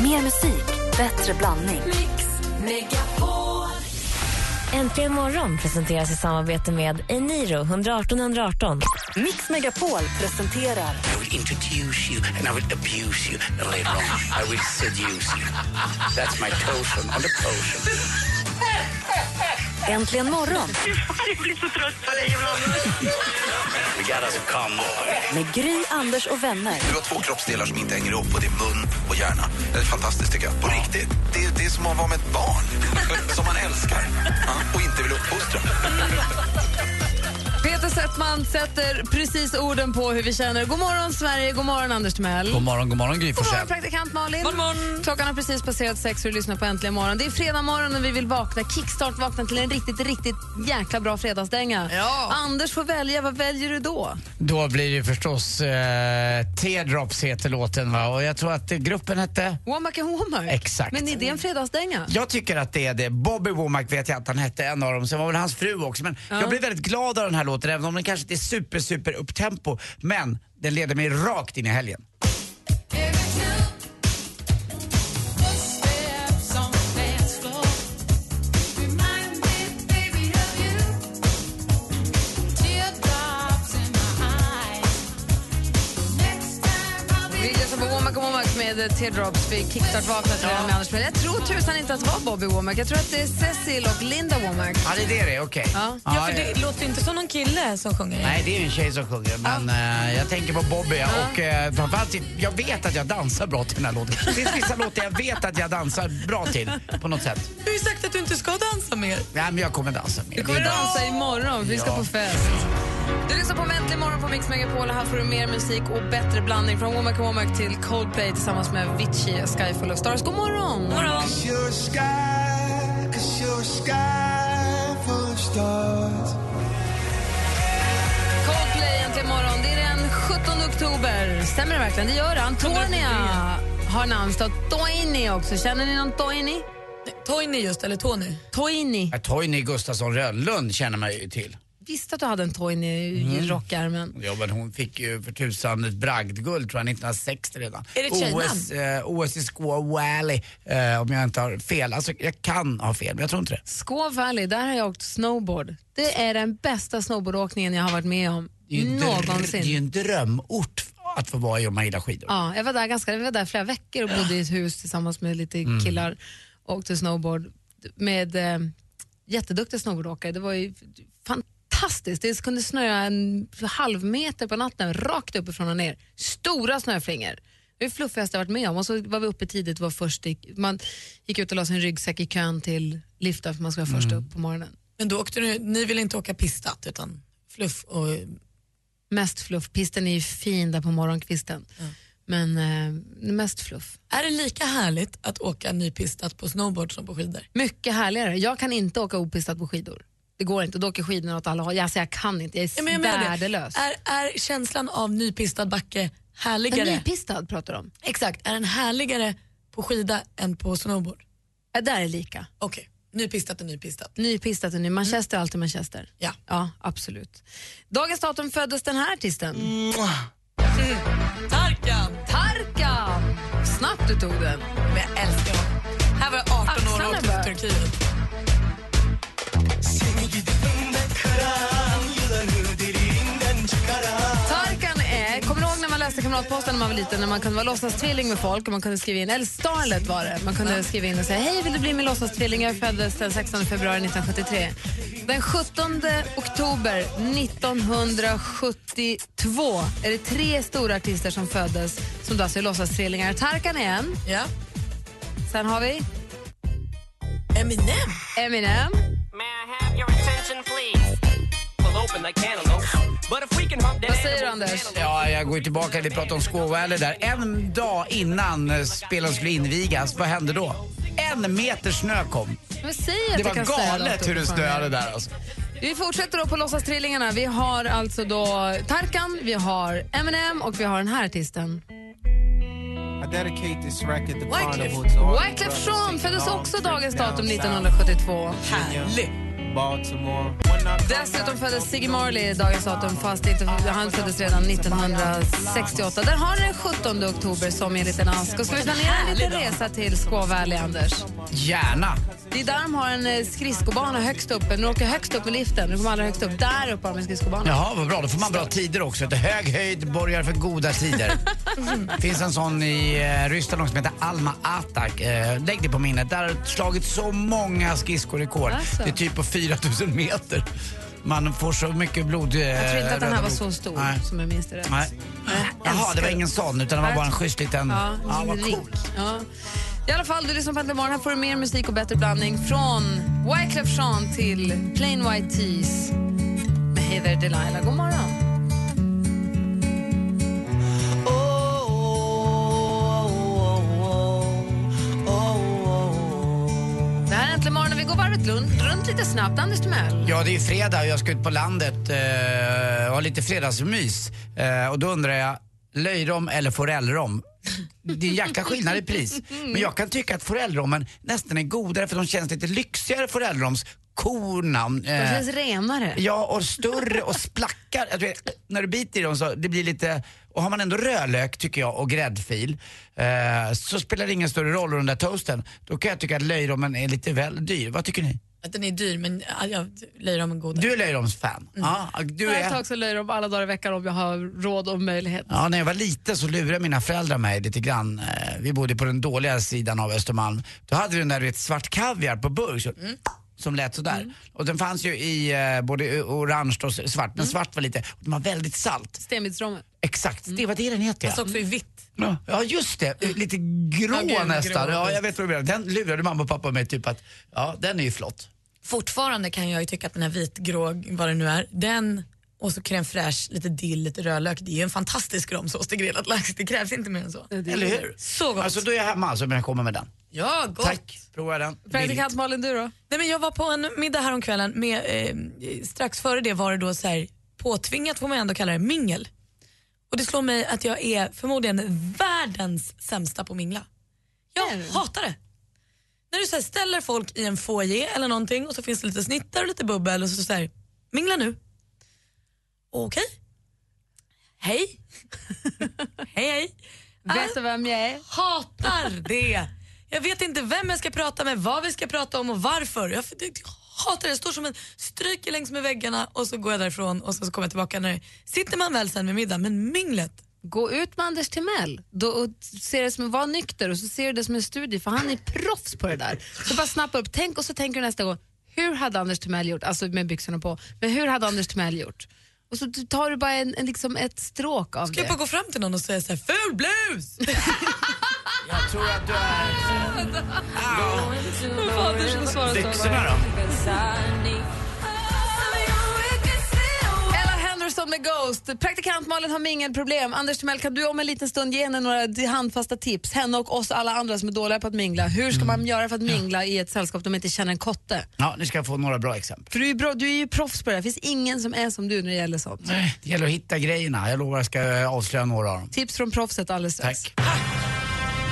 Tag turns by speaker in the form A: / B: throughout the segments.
A: Mer musik, bättre blandning.
B: Äntligen morgon presenteras i samarbete med Eniro 118 118.
A: Mix Megapol presenterar
C: I will introduce you and I will abuse you. And later on, I will seduce you. That's my potion on the potion.
A: Äntligen morgon
C: We got us a combo.
A: med Gry, Anders och vänner.
D: Du har två kroppsdelar som inte hänger ihop och det är mun och hjärna. Det är fantastiskt tycker jag. På riktigt. Det, är- det är som att vara med ett barn som man älskar ja, och inte vill uppfostra.
E: Peter Settman sätter precis orden på hur vi känner. God morgon, Sverige. God morgon, Anders Timell.
F: God morgon, god morgon Gry
E: God
F: Forssell.
E: morgon, praktikant Malin. Klockan har precis passerat sex och du lyssnar på Äntligen morgon. Det är fredag morgon och vi vill vakna, kickstart vakna till en riktigt, riktigt jäkla bra fredagsdänga. Anders får välja. Vad väljer du då?
F: Då blir det förstås eh, Teardrops heter låten va och jag tror att eh, gruppen hette
E: Womaka Womak.
F: Exakt.
E: Men är det en fredagsdänga?
F: jag tycker att det är det. Bobby Womack vet jag att han hette, en av dem. Sen var väl hans fru också. Men jag blev väldigt glad av den här låten, även om den kanske inte är super, super upptempo. Men den leder mig rakt in i helgen.
E: Vi lyssnar på Womaka Womak med Teardrops. Vi kickstart vakna till den med Anders Timell. Jag tror tusan inte att det var Bobby Womack. Jag tror att det är Cecil och Linda Womack.
F: Ja, det är det det är, okej.
E: Ja.
G: Ja, för det låter ju inte som någon kille som sjunger.
F: Nej, det är ju en tjej som sjunger, men eh, jag tänker på Bobby. Och eh, framförallt, jag vet att jag dansar bra till den här låten. Det finns vissa låtar jag vet att jag dansar bra till, på något sätt.
G: Du har ju sagt att du inte ska dansa mer.
F: Nej, men jag kommer dansa mer.
E: Du kommer
F: Det är
E: dansa imorgon, vi ska
F: Ja.
E: på fest. Du lyssnar på Äntligen morgon på Mix Megapol. Här får du mer musik och bättre blandning från Womack Womack till Coldplay tillsammans med Avicii, Sky Full of Stars. God morgon!
G: Morgon.
E: Coldplay Äntligen morgon. Det är den 17 oktober. Stämmer det verkligen? Det gör det. Antonia har namnsdag. Toini också. Känner ni någon Toini?
G: Toini just, eller Tony.
E: Toini.
F: Ja, Torgny Äh, Gustafsson Rönnlund känner man ju till.
E: Visste att du hade en Toini i rockärmen.
F: Ja, men hon fick ju för tusan ett bragdguld tror jag 1960 redan.
G: Är det ett tjejnamn?
F: OS, eh, OS i Squaw Valley eh, om jag inte har fel. Alltså jag kan ha fel men jag tror inte det.
E: Squaw Valley, där har jag åkt snowboard. Det är den bästa snowboardåkningen jag har varit med om
F: Det är ju en dr- Det är ju
E: någonsin.
F: en drömort att få vara i om man gillar skidor.
E: Ja, jag var där ganska, vi var där flera veckor och bodde i ett hus tillsammans med lite
F: Mm.
E: killar och åkte snowboard med eh, jätteduktiga snowboardåkare. Det var ju fantastiskt. Det kunde snöa en halv meter på natten rakt uppifrån och ner. Stora snöflingor. Det är det fluffigaste jag varit med om. Och så var vi uppe tidigt, var först i, man gick ut och la sin ryggsäck i kön till liften för man skulle vara först
F: Mm.
E: upp på morgonen.
G: Men då åkte ni, ni ville inte åka pistat utan fluff och...
E: Mest fluff. Pisten är ju fin där på morgonkvisten. Men eh, mest fluff.
G: Är det lika härligt att åka nypistat på snowboard som på skidor?
E: Mycket härligare. Jag kan inte åka opistat på skidor. Det går inte. Då åker skidorna åt alla håll. Alltså, jag kan inte. Jag är
G: Ja, men jag menar det.
E: värdelös.
G: Är, är känslan av nypistad backe
E: En
G: härligare?
E: nypistad pratar de om.
G: Exakt, är den härligare på skida än på snowboard?
E: Ja, där är lika.
G: Okej, nypistat är nypistat.
E: Nypistat och ny. Manchester är alltid Manchester.
G: Ja.
E: Ja, absolut. Dagens datum föddes den här artisten.
G: Tarkan!
E: Tarkan! Snabbt du tog den.
G: Men jag älskar honom. Här var jag 18 år och
E: Axlarna
G: åkte
E: bara-
G: till Turkiet.
E: Tarkan är, kommer du ihåg när man läste Kamratposten när man var liten när man kunde vara låtsastvilling med folk och man kunde skriva in, eller Starlet var det, man kunde skriva in och säga hej vill du bli min låtsastvilling? Jag föddes den 16 februari 1973. Den 17 oktober 1972 är det tre stora artister som föddes som då alltså är låtsastvillingar. Tarkan är en,
G: Ja.
E: sen har vi
G: Eminem!
E: Eminem,
H: May I have your attention, please? We'll open the can of worms. But if we can hump that
E: vad säger du
H: animal-
E: Anders?
F: Ja, jag går ju tillbaka, vi pratade om Squaw Valley där. En dag innan eh, spelen skulle invigas, vad hände då? En meter snö kom.
E: Men säg att
F: Det
E: jag
F: var
E: kan säga något
F: galet hur det
E: uppifrån här.
F: snöade där alltså.
E: Vi fortsätter då på låtsastrillingarna. Vi har alltså då Tarkan, vi har Eminem och vi har den här artisten.
G: Wycliffe.
E: Wyclef Jean föddes också dagens datum 1972.
G: Härligt!
E: Dessutom föddes Ziggy Marley i dagens datum fast inte, han föddes redan 1968. Där har ni den 17 oktober som enligt en ask. Och ska vi planera en liten resa till Squaw Valley, Anders?
F: Gärna.
E: Det är där de har en eh, skridskobana högst upp. När du åker högst upp med liften, du kommer aldrig högst upp. Där uppe har de en skridskobana.
F: Jaha, vad bra. Då får man bra tider också. Ett hög höjd borgar för goda tider. finns en sån i eh, Ryssland också som heter Alma Atak. Eh, lägg det på minnet. Där har slagit så många skridskorekord.
E: Alltså.
F: Det är typ på 4000 meter. Man får så mycket blod... eh,
E: Jag tror inte att den
F: röda
E: här var
F: blod.
E: så stor
F: Nej.
E: som jag minns det rätt.
F: Nej. Jaha, det var ingen sån utan det var bara en schysst liten...
E: Ja,
F: Ja, vad
E: ring.
F: coolt.
E: Ja. I alla fall, du lyssnar på Äntligen morgon. Här får du mer musik och bättre blandning från Wyclef Jean till Plain White Tees med Heather Delilah. God morgon. Det här är Äntligen morgon och vi går varvet lun- runt lite snabbt. Anders Timell.
F: Ja, det är ju fredag och jag ska ut på landet eh, och ha lite fredagsmys. Eh, och då undrar jag, löjrom eller forellrom? Det är en jäkla skillnad i pris. Men jag kan tycka att forellrommen nästan är godare för de känns lite lyxigare forellroms kornamn.
E: Det
F: Eh,
E: känns renare.
F: ja, och större och splackar. Jag tror, när du biter i dem så det blir lite... Och har man ändå rödlök, tycker jag, och gräddfil eh, så spelar det ingen större roll i den där toasten. Då kan jag tycka att löjrommen är lite väl dyr. Vad tycker ni?
G: Att den är dyr men ja, jag löjrom är godare.
F: Du är löjromsfan. Ja, du
E: Jag
F: är...
E: tar också löjrom alla dagar i veckan om jag har råd och möjlighet.
F: Ja, när jag var liten så lurade mina föräldrar mig lite grann. Eh, Vi bodde på den dåliga sidan av Östermalm. Då hade vi den där du vet, svart kaviar på burk. Så,
G: Mm.
F: Som lät sådär. Och den fanns ju i eh, både orange och svart.
G: Mm.
F: Men svart var lite, den var väldigt salt.
E: Stenbitsrommen.
F: Exakt,
G: Mm.
F: det var det den heter ja.
G: Fast också i vitt.
F: Ja. Ja just det, lite grå
G: Alltså- Ja, gul,
F: nästan.
G: grå.
F: Ja, jag vet vad du menar. Den lurade mamma och pappa mig typ att, ja den är ju flott.
G: Fortfarande kan jag ju tycka att den här vitgrå, vad det nu är, den och så crème fraîche, lite dill, lite rödlök. Det är ju en fantastisk romsås till grillad lax. Det krävs inte mer än så.
F: Eller hur?
G: Så gott.
F: Alltså då är jag hemma alltså, men jag kommer med den.
G: Ja, gott.
F: Tack, prova den. Billigt.
E: Praktikant Malin, du då?
G: Nej, men jag var på en middag häromkvällen, med, eh, strax före det var det då så här, påtvingat får man ändå kalla det, mingel. Och det slår mig att jag är förmodligen världens sämsta på att mingla. Jag hatar det. När du så här, ställer folk i en foyer eller någonting och så finns det lite snittar och lite bubbel och så, så här, mingla nu. Okej. Hej. hej, hej.
E: Vet du vem jag är?
G: Hatar det. Jag vet inte vem jag ska prata med, vad vi ska prata om och varför. Jag, jag, hatar det. Jag står som en stryker längs med väggarna och så går jag därifrån och så, så kommer jag tillbaka när sitter man väl sen med middag. Men minglet.
E: Gå ut med Anders Timell. Då och ser det som, var nykter och så ser du det som en studie för han är proffs på det där. Så bara snappa upp, tänk och så tänker du nästa gång, hur hade Anders Timell gjort? Alltså med byxorna på, men hur hade Anders Timell gjort? Och så tar du bara en, en, liksom ett stråk av
G: Ska jag bara
E: det.
G: gå fram till någon och säga så här, ful blus!
F: Jag tror att du är... Byxorna
E: Byxorna
F: då?
E: Ella Henderson med Ghost. Praktikant Malin har mingelproblem. Anders Timell, kan du om en liten stund ge henne några handfasta tips? Henne och oss alla andra som är dåliga på att mingla. Hur ska man göra för att
F: Mm.
E: mingla i ett sällskap där man inte känner en kotte?
F: Ja, ni ska få några bra exempel.
E: För du är, ju bra, du är ju proffs på det här. Det finns ingen som är som du när det gäller sånt.
F: Nej, Det gäller att hitta grejerna. Jag lovar jag ska eh, avslöja några av dem.
E: Tips från proffset alldeles strax.
F: Tack.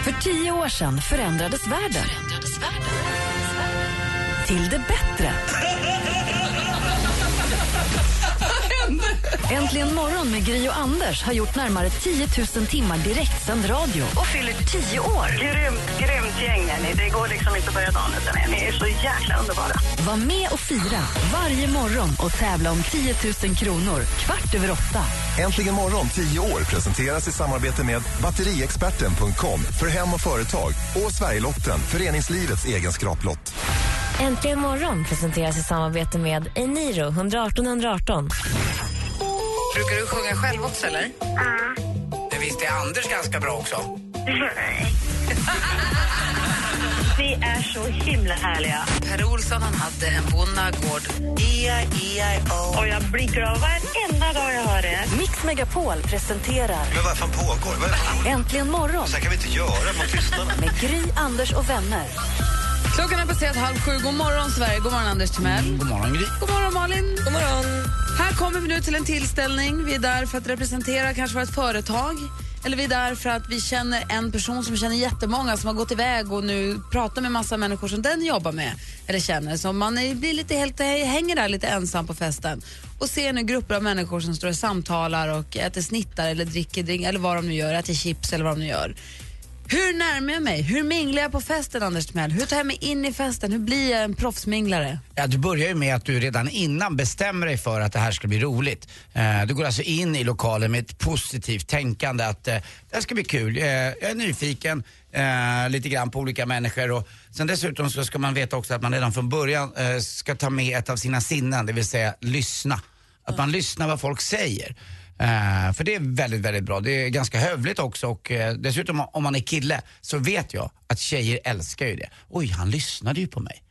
A: För tio år sedan förändrades världen. Till det bättre. Äntligen morgon med Gry och Anders har gjort närmare 10 000 timmar direktsänd radio och fyller 10 år.
I: Grymt, grymt gäng är ni. Det går liksom inte att börja dagen utan er. Ni är så jäkla underbara.
A: Var med och fira varje morgon och tävla om 10 000 kronor kvart över åtta.
J: Äntligen morgon 10 år presenteras i samarbete med batteriexperten.com för hem och företag och Sverigelotten, föreningslivets egen skraplott.
B: Äntligen morgon presenteras i samarbete med Eniro 118 118.
F: Brukar du sjunga själv också eller? Ja. Det visste Anders ganska bra också.
I: Vi är så himla härliga.
A: Per Olsson han hade en bonnagård.
I: Och jag blir glad varenda dag jag hör er.
A: Mix Megapol presenterar
D: Men vad fan pågår? Vad är det? här?
A: Äntligen morgon
D: Så här kan vi inte göra mot tystnaden.
A: med Gry, Anders och vänner.
E: Klockan är passerat halv sju. God morgon Sverige. God morgon Anders Timell.
F: God morgon Gry.
E: God morgon Malin.
G: God morgon.
E: Här kommer vi nu till en tillställning. Vi är där för att representera kanske vårt företag. Eller vi är där för att vi känner en person som känner jättemånga som har gått iväg och nu pratar med massa människor som den jobbar med eller känner. Så man är, blir lite helt, hänger där lite ensam på festen och ser nu grupper av människor som står och samtalar och äter snittar eller dricker drink eller vad de nu gör, äter chips eller vad de nu gör. Hur närmar jag mig? Hur minglar jag på festen, Anders Timell? Hur tar jag mig in i festen? Hur blir jag en proffsminglare?
F: Ja, du börjar ju med att du redan innan bestämmer dig för att det här ska bli roligt. Eh, Du går alltså in i lokalen med ett positivt tänkande att eh, det här ska bli kul. Eh, Jag är nyfiken eh, lite grann på olika människor och sen dessutom så ska man veta också att man redan från början eh, ska ta med ett av sina sinnen, det vill säga lyssna. Att man lyssnar vad folk säger. Eh, för det är väldigt, väldigt bra. Det är ganska hövligt också och eh, dessutom om man är kille så vet jag att tjejer älskar ju det. Oj, han lyssnade ju på mig.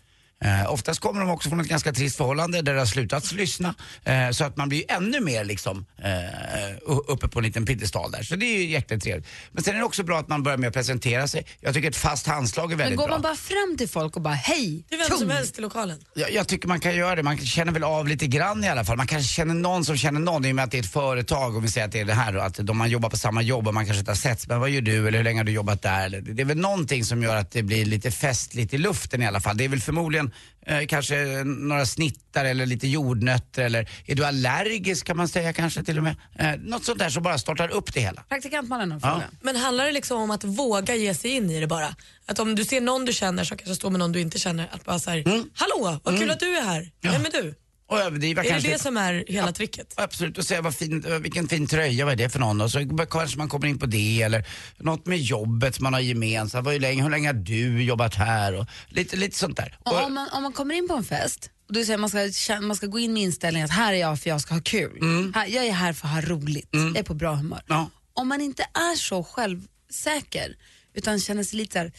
F: Eh, oftast kommer de också från ett ganska trist förhållande där det har slutat lyssna. Eh, så att man blir ju ännu mer liksom eh, u- uppe på en liten piedestal där. Så det är ju jäkligt trevligt. Men sen är det också bra att man börjar med att presentera sig. Jag tycker ett fast handslag är
E: Men
F: väldigt
E: går
F: bra.
E: man bara fram till folk och bara hej,
G: Det är vem som
E: kung?
G: helst i lokalen.
F: Jag, jag tycker man kan göra det. Man känner väl av lite grann i alla fall. Man kanske känner någon som känner någon i och med att det är ett företag och vi säger att det är det här och att de man jobbar på samma jobb och man kanske inte har setts. Men vad gör du eller hur länge har du jobbat där? Eller, det det är väl någonting som gör att det blir lite festligt i luften i alla fall. Det är väl förmodligen eh, kanske några snittar eller lite jordnötter eller är du allergisk kan man säga kanske till och med. Eh, något sånt där som bara startar upp det hela.
E: Praktikantmannen har en
F: Ja.
E: fråga.
G: Men handlar det liksom om att våga ge sig in i det bara? Att om du ser någon du känner som kanske står med någon du inte känner, att bara såhär, hallå, vad kul att du är här. Vem är du?
F: Och överdriva
G: Är
F: kanske.
G: det det som är hela tricket?
F: Absolut, och säga vad fin, vilken fin tröja, vad är det för någon? Och så kanske man kommer in på det eller något med jobbet som man har gemensamt. Vad- Hur länge, hur länge har du jobbat här? Och lite, lite sånt där.
E: Och
F: Och-
E: om, man, om man kommer in på en fest och du säger man ska, kän- man ska gå in med inställningen att här är jag för jag ska ha kul. Här, jag är här för att ha roligt. Jag är på bra humör.
F: Mm. Ja.
E: Om man inte är så självsäker utan känner sig lite så här,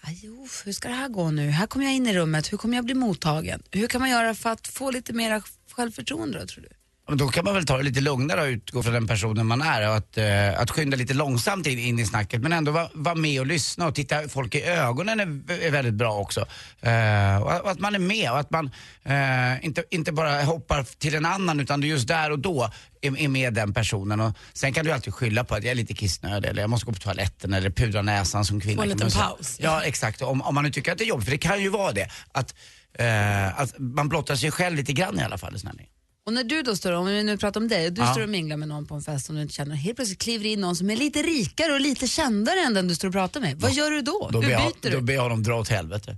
E: "Aj, jo, hur ska det här gå nu? Här kommer jag in i rummet, hur kommer jag bli mottagen? Hur kan man göra för att få lite mer självförtroende då, tror du?
F: Men Då kan man väl ta det lite lugnare och utgå från den personen man är och att, eh, att skynda lite långsamt in, in i snacket men ändå vara va med och lyssna och titta folk i ögonen är, är väldigt bra också. Eh, och, och att man är med och att man eh, inte, inte bara hoppar till en annan utan du just där och då är, är med den personen. Och sen kan du alltid skylla på att jag är lite kissnödig eller jag måste gå på toaletten eller pudra näsan som kvinna.
G: Få
F: kan
G: en liten
F: man säga.
G: paus.
F: Ja, exakt. Om, om man nu tycker att det är jobbigt, för det kan ju vara det. Att, eh, att man blottar sig själv lite grann i alla fall. i såna här lägen.
E: Och när du då står, om vi nu pratar om dig, du
F: Ja.
E: står och minglar med någon på en fest som du inte känner, helt plötsligt kliver in någon som är lite rikare och lite kändare än den du står och pratar med. Vad gör du då?
F: Då
E: Hur
F: ber, jag,
E: byter
F: då
E: du?
F: ber jag honom dra åt helvete.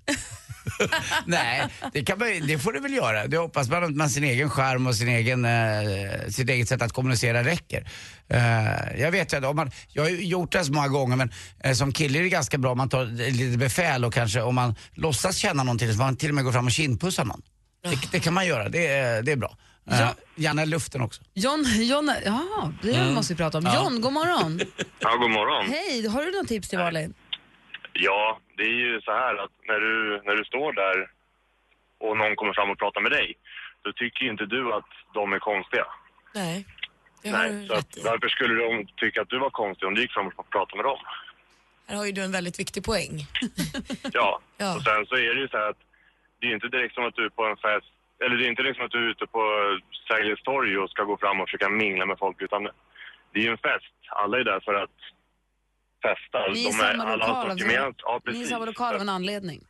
F: Nej, det, kan man, ju- det får du väl göra. Det hoppas man att man sin egen skärm och sin egen, eh, sitt eget sätt att kommunicera räcker. Eh, jag vet ju att om man, jag har ju gjort det här så många gånger men eh, som kille är det ganska bra om man tar lite befäl och kanske om man låtsas känna någonting så får man till och med gå fram och kindpussa någon. Det,
E: Ah.
F: det kan man göra, det, är- det är bra. Eh, Gärna i luften också.
E: John, John, ja, det måste vi prata om. John, god morgon.
K: Ja, god morgon.
E: Hej, har du någon tips till Malin?
K: Ja, det är ju så här att när du, när du står där och någon kommer fram och pratar med dig, då tycker ju inte du att de är konstiga.
G: Nej. Det har
K: Nej,
G: du
K: så
G: rätt
K: att, varför skulle de tycka att du var konstig om du gick fram och pratade med dem?
G: Här har ju du en väldigt viktig poäng.
K: Ja.
G: Ja.
K: Och sen så är det ju så här att det är inte direkt som att du är på en fest, eller det är inte direkt som att du är ute på Sergels torg och ska gå fram och försöka mingla med folk, utan det är ju en fest. Alla är där för att festa.
E: Ni är i
K: De är,
E: samma
K: alla har
E: lokal
K: något
E: av-
K: gemensamt. Ja,
E: Ni är i
K: precis.
E: samma lokal av en anledning.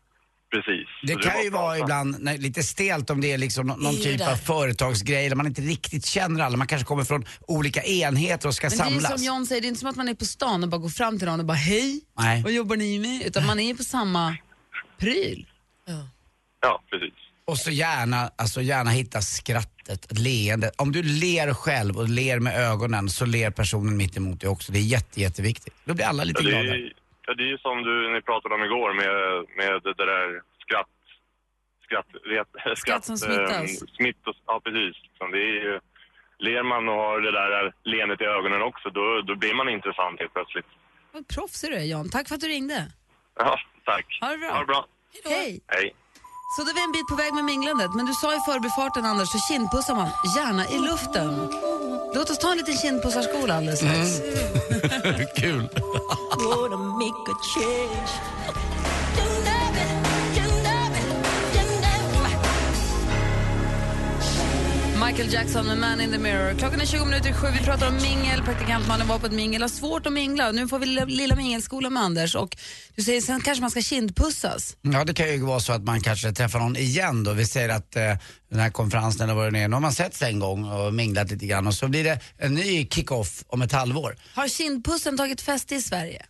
K: precis.
F: Det
K: Så alltså-
F: kan ju
K: bara-
F: vara ibland nej, lite stelt om det är liksom nå- någon
G: Det är ju
F: typ
G: där.
F: av företagsgrej där man inte riktigt känner alla. Man kanske kommer från olika enheter och ska
E: Men det är ju
F: samlas.
E: som John säger, det är inte som att man är på stan och bara går fram till någon och bara hej,
F: Nej.
E: vad jobbar ni med? Utan man är ju på samma pryl.
K: Ja, precis.
F: Och så gärna, alltså gärna hitta skrattet, leendet. Om du ler själv och ler med ögonen så ler personen mitt emot dig också. Det är jätte, jätteviktigt. Då blir alla lite
K: Ja, det,
F: glada.
K: är, ja, det är ju som du, ni pratade om igår med, med det där skratt... Skratt, ret, skratt,
E: som
K: eh,
E: smittas.
K: smitt och, ja, precis. Så det är ju, ler man och har det där leendet i ögonen också, då, då blir man intressant helt plötsligt.
E: Vad proffsig du är John, tack för att du ringde.
K: Ja, tack.
E: Ha det bra.
K: Ha det bra.
E: Hej!
K: Hej.
E: Så då är vi en bit på väg med minglandet, men du sa i förbifarten Anders, så kindpussar man gärna i luften. Låt oss ta en liten kindpussarskola alldeles strax.
F: Kul!
E: My Michael Jackson med Man in the Mirror. Klockan är 20 minuter i sju. Vi pratar om mingel. Praktikantmannen var på ett mingel. Har svårt att mingla. Nu får vi lilla, lilla mingelskola med Anders. Och du säger sen kanske man ska kindpussas.
F: Ja, det kan ju vara så att man kanske träffar någon igen då. Vi säger att eh, den här konferensen eller vad det nu är, nu har man sett sig en gång och minglat lite grann och så blir det en ny kick-off om ett halvår.
E: Har kindpussen tagit fäste i Sverige?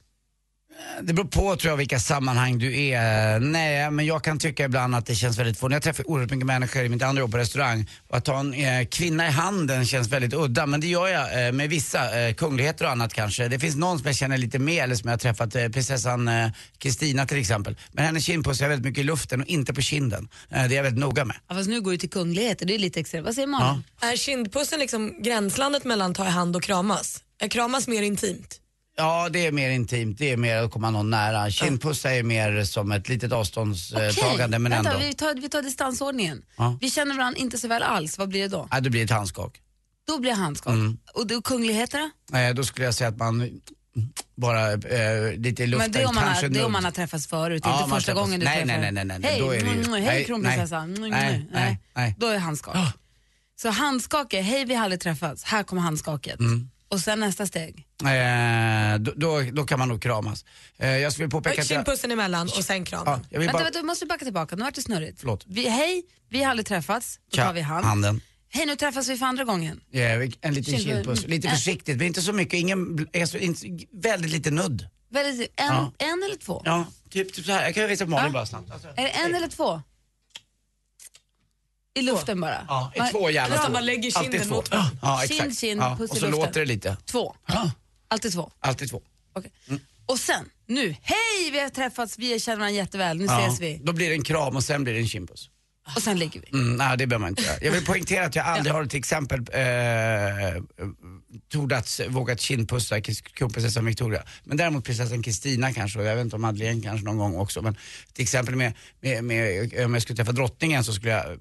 F: Det beror på tror jag vilka sammanhang du är. Nej, men jag kan tycka ibland att det känns väldigt fånigt. Jag träffar oerhört mycket människor i mitt andra jobb på restaurang och att ta en eh, kvinna i handen känns väldigt udda. Men det gör jag eh, med vissa eh, kungligheter och annat kanske. Det finns någon som jag känner lite mer eller som jag har träffat, eh, prinsessan eh, Kristina till exempel. Men hennes kindpuss är väldigt mycket i luften och inte på kinden. Eh, det är jag väldigt noga med.
E: Ja, fast nu går det till kungligheter. Det är lite extremt. Vad säger man?
F: Ja.
G: Är kindpussen liksom gränslandet mellan ta i hand och kramas? Är kramas mer intimt?
F: Ja, det är mer intimt. Det är mer att komma någon nära. Kindpuss är mer som ett litet avståndstagande eh, men
E: Vänta,
F: ändå.
E: vi tar, vi tar distansordningen.
F: Ja.
E: Vi känner varandra inte så väl alls. Vad blir det då?
F: Ja, det blir ett handskak.
E: Då blir handskak.
F: Mm.
E: Och då, kungligheterna?
F: Eh, då skulle jag säga att man bara eh, lite i luften,
E: Men det är om man,
F: kanske
E: har, det är om
F: nudg.
E: man har träffats förut,
F: Ja,
E: inte
F: man
E: första
F: träffas.
E: gången du
F: Nej,
E: träffar.
F: nej, nej, nej, nej.
E: Hej,
F: Då är det ju-
E: mm,
F: nej,
E: hej kronprinsessan.
F: nej,
E: Mm,
F: nej, nej, nej.
E: Då är handskak. Så handskak är, hej vi har aldrig träffats, här kommer handskaket.
F: Mm.
E: Och sen nästa steg.
F: Eh, då, då, då kan man nog kramas. Eh, jag skulle påpeka att jag...
G: Kindpussen emellan och sen kram.
F: Ja, jag vill
E: Vänta,
F: bara...
E: vänta, vi måste backa tillbaka, nu vart det snurrigt.
F: Förlåt.
E: Vi, hej, vi har aldrig träffats, då tar vi hand.
F: handen.
E: Hej, nu träffas vi för andra gången.
F: Eh, en liten
E: Kindpuss.
F: kindpuss. Lite
E: Mm.
F: försiktigt, men inte så mycket. Ingen, bl- är så, inte, väldigt lite nudd.
E: Väldigt, en,
F: Ja.
E: en eller två?
F: Ja, typ, typ så här. Jag kan visa på Malin
E: Ja.
F: bara snabbt. Alltså,
E: Är det en eller två? I luften bara?
F: ja,
E: Man-
F: i två gärna.
E: Nästan
F: två.
E: bara lägger kinden
F: Alltid två.
E: mot
F: Ja,
E: varandra.
F: ja,
E: Kind,
F: exakt.
E: kind,
F: ja.
E: puss i
F: Och så
E: luften.
F: låter det lite.
E: Två. Alltid två.
F: Alltid två.
E: Och sen, nu, hej vi har träffats, vi känner varandra jätteväl, nu
F: Ja.
E: ses vi.
F: Då blir det en kram och sen blir det en kindpuss.
E: Och sen ligger vi.
F: Mm, nej, det behöver man inte göra. Jag vill poängtera att jag aldrig har till exempel eh, tordats, vågat kindpussa kis- kronprinsessan Victoria. Men däremot prinsessan Kristina kanske, och jag vet inte om Madeleine kanske någon gång också. Men till exempel med, med, med, om jag skulle träffa drottningen så skulle jag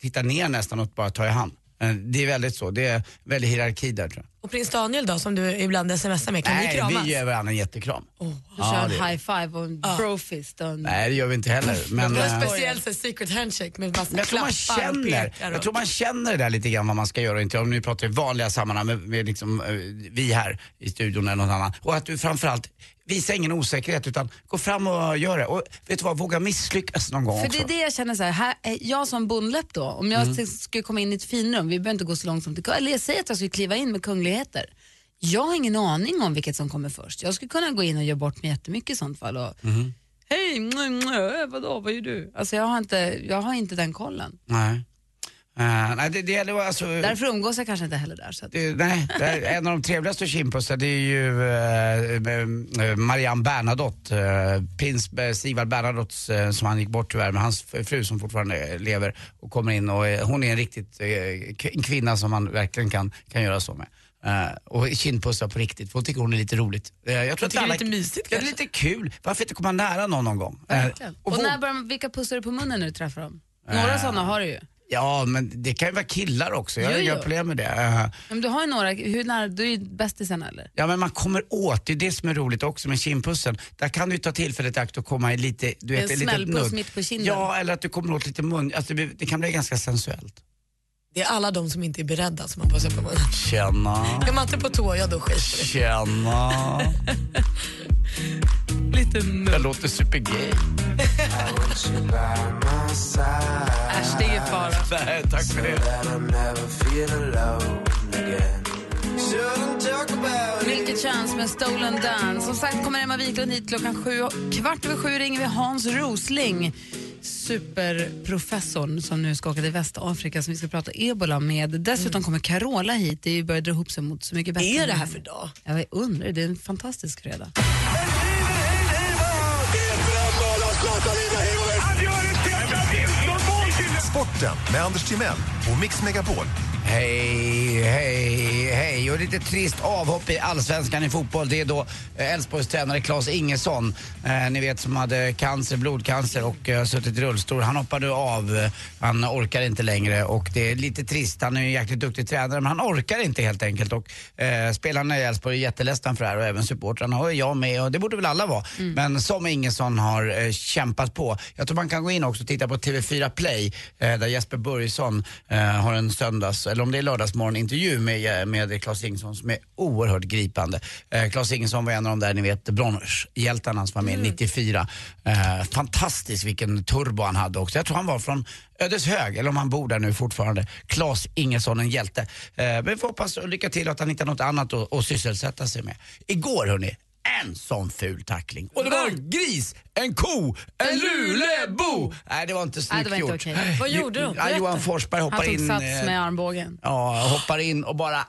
F: titta ner nästan och bara ta i hand. Eh, Det är väldigt så, det är väldigt hierarki där tror jag.
G: Och prins Daniel då som du ibland smsar med, kan ni
F: Nej,
G: kramas?
F: vi ger varandra en jättekram.
E: Du kör
F: Ja,
E: en
F: det-
E: high five och en brofist. Och en...
F: Nej, det gör vi inte heller. Men,
G: det är
F: eh,
G: speciellt en secret handshake med massa
F: Men jag tror, man
G: klappar och
F: känner,
G: pekar. Och...
F: jag tror man känner det där lite grann vad man ska göra och inte. Om nu pratar i vanliga sammanhang med, med liksom, eh, vi här i studion eller någon annan. Och att du framförallt visa ingen osäkerhet utan gå fram och gör det. Och vet du vad, våga misslyckas någon gång
E: För det
F: också.
E: är det jag känner så här, här är jag som bondläpp då, om jag
F: Mm.
E: skulle komma in i ett finrum, vi behöver inte gå så långt som till eller jag säger att jag skulle kliva in med kungligheter. Jag har ingen aning om vilket som kommer först. Jag skulle kunna gå in och göra bort mig jättemycket i sånt fall. Och,
F: Mhm.
E: Hej, mwah, mwah, vadå, vad gör du? Alltså jag har inte, jag har inte den kollen.
F: Nej. Eh, nej, det, det gäller alltså...
E: Därför umgås jag kanske inte heller där. Så att,
F: det, nej, det är en av de trevligaste kindpussar det är ju eh, eh, Marianne Bernadotte, eh, prins eh, Sigvard Bernadotte eh, som han gick bort tyvärr, men hans f- fru som fortfarande eh, lever och kommer in och eh, hon är en riktigt eh, k- en kvinna som man verkligen kan, kan göra så med. Eh, och kindpussar på riktigt, för hon tycker hon är lite roligt. Eh, jag tror att
G: tycker det är
F: alla,
G: lite mysigt
F: Ja, Det är lite kul. Varför inte komma nära någon någon gång? Eh,
E: verkligen. och när börjar, man- vilka pussar du på munnen när du träffar dem? Några
G: Äh,
F: Eh.
E: sådana har du ju.
F: ja, men det kan ju vara killar också. Jag har
E: Jo,
F: inga
E: jo.
F: problem med det. Eh,
E: Men du har ju några, hur nära, du är ju bästisarna eller?
F: Ja men man kommer åt, det är det som är roligt också med kindpussen. Där kan du ta tillfället i akt och komma i lite, du vet,
E: En
F: liten
E: smällpuss
F: nudd.
E: mitt på kinden.
F: Ja, eller att du kommer åt lite mun, alltså, det, blir- det kan bli ganska sensuellt.
G: Det är alla de som inte är beredda som man pussar på munnen.
F: Tjena,
G: Är man inte på tå, ja då skiter det.
F: tjena. lite nudd. Jag låter supergay.
E: Äsch, det är ingen fara.
F: Nej, Eh, tack för
E: Milky Chance med Stolen Dance. Som sagt kommer Emma Wiklund hit klockan sju. och Kvart över sju ringer vi Hans Rosling, superprofessorn som nu ska åka till Västafrika som vi ska prata ebola med. Dessutom kommer Carola hit. Det börjar dra ihop sig mot Så mycket bättre.
G: Mm. är det här för dag?
E: Jag undrar, det är en fantastisk fredag.
J: Sporten med Anders Timell och Mix Megapol.
F: Hej, hej, hej. Och lite trist avhopp i allsvenskan i fotboll. Det är då eh, Elfsborgs tränare Claes Ingesson, eh, ni vet som hade cancer, blodcancer och eh, suttit i rullstol. Han hoppade av, eh, han orkar inte längre och det är lite trist. Han är ju en jäkligt duktig tränare men han orkar inte helt enkelt. Och eh, spelarna i Elfsborg är jätteledsna för det här och även supportrarna och jag med och det borde väl alla vara. Men som Ingesson har eh, kämpat på. Jag tror man kan gå in också och titta på TV4 Play eh, där Jesper Börjesson eh, har en söndags, eller om det är lördagsmorgon, intervju med, eh, med Claes Ingesson som är oerhört gripande. Eh, Claes Ingesson var en av de där, ni vet, bronshjältarna, hans familj, 94. Eh, fantastisk vilken turbo han hade också. Jag tror han var från Ödeshög, eller om han bor där nu fortfarande. Claes Ingesson, en hjälte. Eh, men vi får hoppas och lycka till att han hittar något annat att, att sysselsätta sig med. Igår hörni, en sån ful tackling. Och det var en gris, en ko, en lulebo! Nej, det var inte
L: Nej,
F: snyggt
L: det var inte
F: gjort.
L: okej. Vad
F: Jo-
L: gjorde de?
F: ja,
L: Berätta.
F: Johan Forsberg hoppar
L: Han tog
F: in.
L: sats
F: eh,
L: med armbågen.
F: Ja, hoppar in och bara...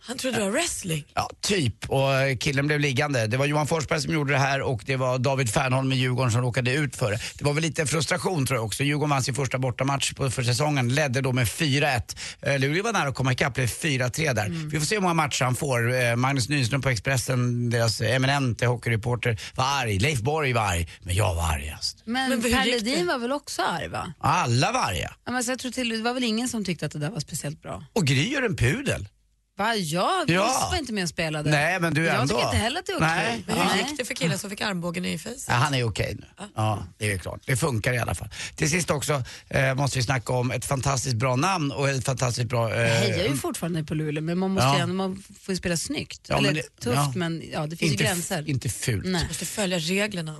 G: Han trodde det var wrestling.
F: Ja, typ. Och eh, killen blev liggande. Det var Johan Forsberg som gjorde det här och det var David Fernholm med Djurgården som råkade ut för det. Det var väl lite frustration tror jag också. Djurgården vann sin första bortamatch på, för säsongen, ledde då med 4-1. Eh, Luleå var nära att komma ikapp, blev 4-3 där.
L: Mm.
F: Vi får se hur många matcher han får. Eh, Magnus Nyström på Expressen, deras eminente hockeyreporter, var arg. Leif Borg var arg, men jag var argast.
L: Men,
G: Men hur
L: Per
G: gick det?
L: Ledin var väl också arg va?
F: Alla var arga.
L: Ja, men så jag tror till, det var väl ingen som tyckte att det där var speciellt bra.
F: Och Gry gör en pudel.
L: Va, jag
F: Ja.
L: visst var inte med och spelade.
F: Nej, men du
L: jag
F: ändå.
L: tycker inte heller att det är okej.
F: Nej.
G: Men hur gick det för killen som fick armbågen i face?
F: Ja, han är okej nu. Ja, det är ju klart. Det funkar i alla fall. Till sist också eh, måste vi snacka om ett fantastiskt bra namn och ett fantastiskt bra...
L: Jag
F: Eh,
L: hejar ju fortfarande på Luleå men man, måste
F: Ja.
L: ju ändå, man får ju spela snyggt.
F: Ja,
L: Eller
F: men det-
L: tufft
F: ja.
L: men ja, det finns
F: inte,
L: ju
F: f-
L: gränser.
F: inte fult.
L: Nej.
G: Måste följa reglerna.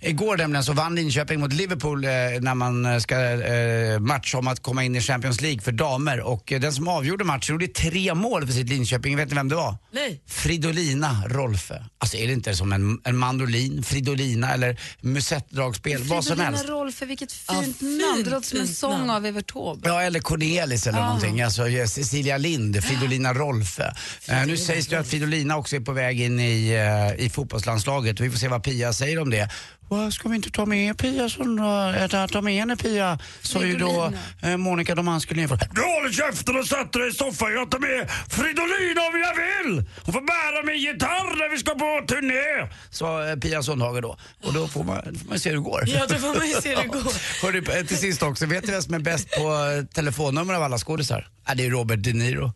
F: Igår nämligen så vann Linköping mot Liverpool eh, när man eh, ska eh, matcha om att komma in i Champions League för damer. Och eh, den som avgjorde matchen gjorde tre mål för sitt Linköping. Vet ni vem det var?
G: Nej.
F: Fridolina Rolfö. Alltså är det inte som en, en mandolin, Fridolina eller musettdragspel, vad som helst.
L: Rolf, vilket fint
G: fint,
L: namn. Det låter som en
G: fint
L: sång
G: namn.
L: av Evert Taube.
F: Ja, eller Cornelis eller
L: Ah.
F: någonting. Alltså ja, Cecilia Lind, Fridolina Rolfö. Eh, nu sägs det ju att Fridolina också är på väg in i, eh, i fotbollslandslaget. Vi får se vad Pia säger om det. Vad ska vi inte ta med Pia som då? Eh, Ta, ta med henne Pia, sa ju då eh, Monica Doman skulle inför. Du håller käften och sätter dig i soffan. Jag tar med Fridolina om jag vill. Hon får bära min gitarr när vi ska på turné. Sa eh, Pia Sundhage då. Och då får man, får man se hur det går.
G: Ja, då får man ju se hur det går.
F: Hörru, eh, till sist också, vet du vem som är bäst på eh, telefonnummer av alla skådisar? Ja, det är Robert De Niro.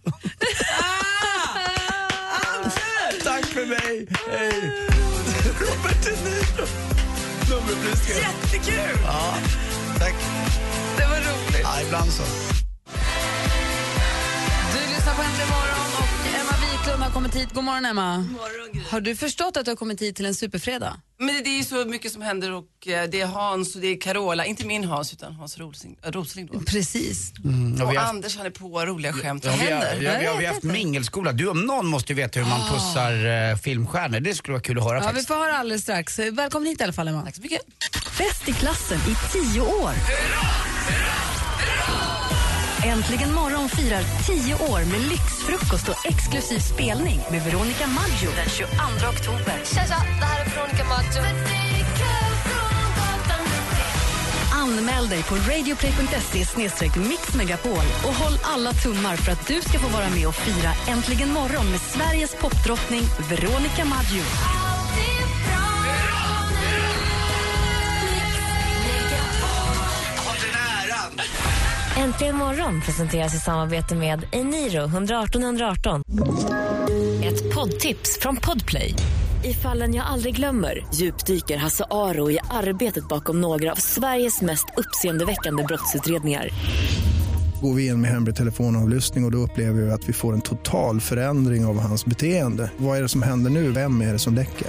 F: Tack för mig! Hej! Robert De Niro! Nummerupplysningen.
G: Jättekul!
F: Ja, tack.
L: Det var roligt.
F: Ja, ibland så.
L: Du lyssnar på Äntligen morgon och Emma Wiklund har kommit hit. God morgon Emma. har du förstått att du har kommit hit till en superfredag?
M: Men det är ju så mycket som händer och eh, det är Hans och det är Carola, inte min Hans utan Hans Rosling, äh, Rosling då.
L: Precis.
F: Mm, och
M: och
F: vi har haft-
M: Anders han är på roliga skämt,
F: Ja,
M: vad
F: vi har,
M: händer?
F: ja, vi har, vi har haft mingelskola. Du om någon måste ju veta hur man pussar eh, filmstjärnor. Det skulle vara kul att höra
L: Ja, vi
F: faktiskt.
L: får höra alldeles strax. Välkommen hit i alla fall Emma. Tack så mycket.
A: Bäst i klassen i tio år. Äntligen morgon firar tio år med lyxfrukost och exklusiv spelning med Veronica Maggio den 22 oktober.
N: Tja, tja, det här är Veronica Maggio.
A: Anmäl dig på radioplay.se mixmegapol och håll alla tummar för att du ska få vara med och fira Äntligen morgon med Sveriges popdrottning Veronica Maggio.
B: Äntligen morgon presenteras i samarbete med Eniro 118 118.
O: Ett poddtips från Podplay. I fallen jag aldrig glömmer djupdyker Hasse Aro i arbetet bakom några av Sveriges mest uppseendeväckande brottsutredningar.
P: Går vi in med hemlig telefonavlyssning och, och då upplever vi att vi får en total förändring av hans beteende. Vad är det som händer nu? Vem är det som läcker?